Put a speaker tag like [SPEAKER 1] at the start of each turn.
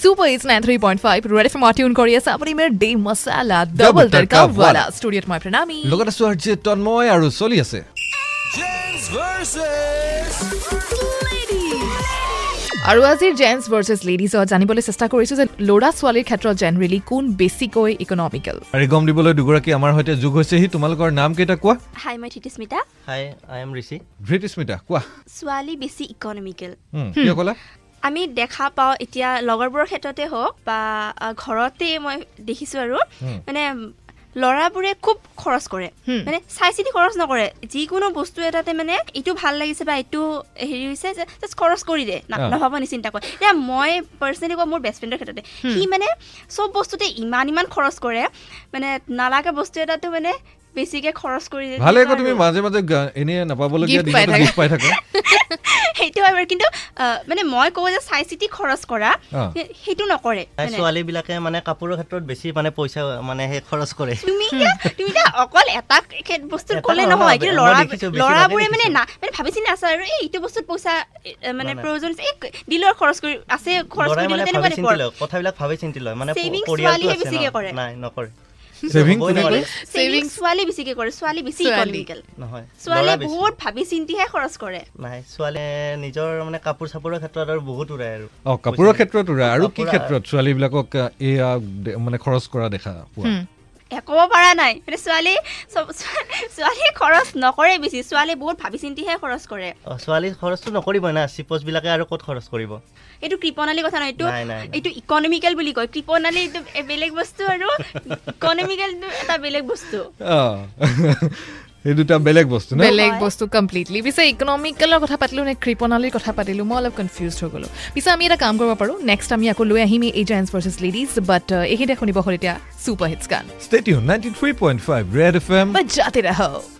[SPEAKER 1] Super is nine three point five red F এমত tune কৰি আছে আপুনি মোৰ ডে মছালা ডাবল তৰকা ৱালা ষ্টুডিঅ'ত মই প্ৰণামী
[SPEAKER 2] লগত আছো আৰ্জি তন্ময় আৰু চলি আছে
[SPEAKER 1] আৰু আজিৰ জেন্টছ ভাৰ্চেছ লেডিজত জানিবলৈ চেষ্টা কৰিছোঁ যে ল'ৰা ছোৱালীৰ ক্ষেত্ৰত জেনেৰেলি কোন বেছিকৈ ইকনমিকেল
[SPEAKER 2] আৰু গম দিবলৈ দুগৰাকী আমাৰ সৈতে যোগ হৈছেহি তোমালোকৰ নাম কেইটা কোৱা
[SPEAKER 3] হাই মই Titismita
[SPEAKER 4] hi I am Rishi
[SPEAKER 2] Dhritismita কোৱা
[SPEAKER 3] ছোৱালী বেছি ইকনমিকেল
[SPEAKER 2] হুম, কিয় ক'লা
[SPEAKER 3] আমি দেখা পাওঁ এতিয়া লগৰবোৰৰ ক্ষেত্ৰতে হওক বা আ, ঘৰতে মই দেখিছোঁ আৰু মানে ল'ৰাবোৰে খুব খৰচ কৰে
[SPEAKER 1] হুম।
[SPEAKER 3] মানে চাই চিতি খৰচ নকৰে যিকোনো বস্তু এটাতে মানে এইটো ভাল লাগিছে বা এইটো হেৰি হৈছে জাষ্ট খৰচ কৰি দে না-
[SPEAKER 2] অ।
[SPEAKER 3] নভবা নিচিন্তা কৰে এতিয়া মই পাৰ্চনেলি কোৱা মোৰ বেষ্ট ফ্ৰেণ্ডৰ ক্ষেত্ৰতে সি মানে চব বস্তুতে ইমান ইমান খৰচ কৰে মানে নালাগা বস্তু এটাতো মানে বেছিকৈ খৰচ কৰি দিয়ে
[SPEAKER 2] ভালে আকৌ
[SPEAKER 3] আৰু।
[SPEAKER 2] তুমি মাজে মাজে গা- এনেই নাপাবলগীয়া
[SPEAKER 1] Gift পাই
[SPEAKER 2] দিনতো
[SPEAKER 1] থাকা।
[SPEAKER 2] গিফ্ট পাই থাকা
[SPEAKER 3] সেইটো হয় বাৰু কিন্তু আ, মানে মই কওঁ যে চাই চিতি খৰচ কৰা
[SPEAKER 2] অ।
[SPEAKER 3] সে- সেইটো নকৰে
[SPEAKER 4] তাই
[SPEAKER 3] মানে।
[SPEAKER 4] ছোৱালীবিলাকে মানে কাপোৰৰ ক্ষেত্ৰত বেছি মানে পইচা মানে সেই খৰচ কৰে
[SPEAKER 3] তুমি এতিয়া তুমি এতিয়া অকল এটা খে- বস্তুত
[SPEAKER 4] এটা
[SPEAKER 3] ক'লে
[SPEAKER 4] নহয়,
[SPEAKER 3] নহয়
[SPEAKER 4] আমি-
[SPEAKER 3] কিন্তু
[SPEAKER 4] মই
[SPEAKER 3] ল'ৰা
[SPEAKER 4] দেখিছোঁ, বেছিভাগেই
[SPEAKER 3] ল'ৰাবোৰে মানে
[SPEAKER 4] দেখিছোঁ।
[SPEAKER 3] না মানে ভাবিছি নাচা আৰু এই এইটো বস্তুত পইচা এ, এ, মানে
[SPEAKER 4] নাই, নাই।
[SPEAKER 3] প্ৰয়োজন আছে এই ডিলৰ খৰচ কৰি আছে খৰচ কৰি
[SPEAKER 4] ল'ৰাই
[SPEAKER 3] দিলে
[SPEAKER 4] মানে
[SPEAKER 3] তেনেকুৱা
[SPEAKER 4] ভাবি চিন্তি
[SPEAKER 3] টাইপৰ
[SPEAKER 4] লয় কথাবিলাক ভাবি চিন্তি লয় মানে প-
[SPEAKER 3] Savings
[SPEAKER 4] পৰিয়ালটো
[SPEAKER 3] ছোৱালীহে
[SPEAKER 4] আছে ন।
[SPEAKER 3] বেছিকে কৰে।
[SPEAKER 4] নাই নকৰে
[SPEAKER 2] Saving
[SPEAKER 4] হ'বই
[SPEAKER 2] কোনে
[SPEAKER 4] নোৱাৰে।
[SPEAKER 2] কৰে?
[SPEAKER 3] ছেভিং
[SPEAKER 1] Savings-
[SPEAKER 3] ছোৱালী বেছিকে কৰে ছোৱালী বেছি
[SPEAKER 1] ছোৱালী।
[SPEAKER 3] ইকনমিকেল
[SPEAKER 4] নহয় ল'ৰা
[SPEAKER 3] ছোৱালীয়ে
[SPEAKER 4] বেছি।
[SPEAKER 3] বহুত ভাবি চিন্তিহে খৰচ কৰে
[SPEAKER 4] নাই ছোৱালীয়ে নিজৰ মানে কাপোৰ চাপোৰৰ ক্ষেত্ৰত আৰু বহুত উৰাই আৰু
[SPEAKER 2] অ কাপোৰৰ
[SPEAKER 4] পইচা।
[SPEAKER 2] ক্ষেত্ৰত উৰা আৰু কি
[SPEAKER 4] কাপোৰৰ-
[SPEAKER 2] ক্ষেত্ৰত ছোৱালীবিলাকক আ, এয়া দে- মানে খৰচ কৰা দেখা পোৱা
[SPEAKER 1] হুম।
[SPEAKER 3] এ, ক'ব পৰা নাই মানে ছোৱালী চব- ছোৱালীয়ে খৰচ নকৰে বেছি ছোৱালীয়ে বহুত ভাবি চিন্তিহে খৰচ কৰে
[SPEAKER 4] অ, ছোৱালী খৰচটো নকৰিব না চিপচ বিলাকে আৰু ক'ত খৰচ কৰিব
[SPEAKER 3] এইটো কৃপণালী কথা নহয় এইটো
[SPEAKER 4] নাই, নাই, নাই।
[SPEAKER 3] এইটো ইকনমিকেল বুলি কয় কৃপণালী এইটো এ- বেলেগ বস্তু আৰু ইকনমিকেল এটা বেলেগ বস্তু
[SPEAKER 2] অ, সেই দুটা বেলেগ বস্তু ন
[SPEAKER 1] বেলেগ
[SPEAKER 3] হয়।
[SPEAKER 1] বস্তু কমপ্লিটলি পিছে ইকনমিকেলৰ কথা পাতিলোঁ নে কৃপণালীৰ কথা পাতিলোঁ মই অলপ কনফিউজ হৈ গ'লোঁ পিছে আমি এটা কাম কৰিব পাৰোঁ নেক্সট আমি আকৌ লৈ আহিম এই জেন্টছ ভাৰ্চেছ লেডিজ বাট এইখিনিতে শুনিব হ'ল এতিয়া ছুপাৰ হিটছ গান
[SPEAKER 2] ষ্টেটিউ ninety three point five red F M
[SPEAKER 1] বাট যাতে ৰাহক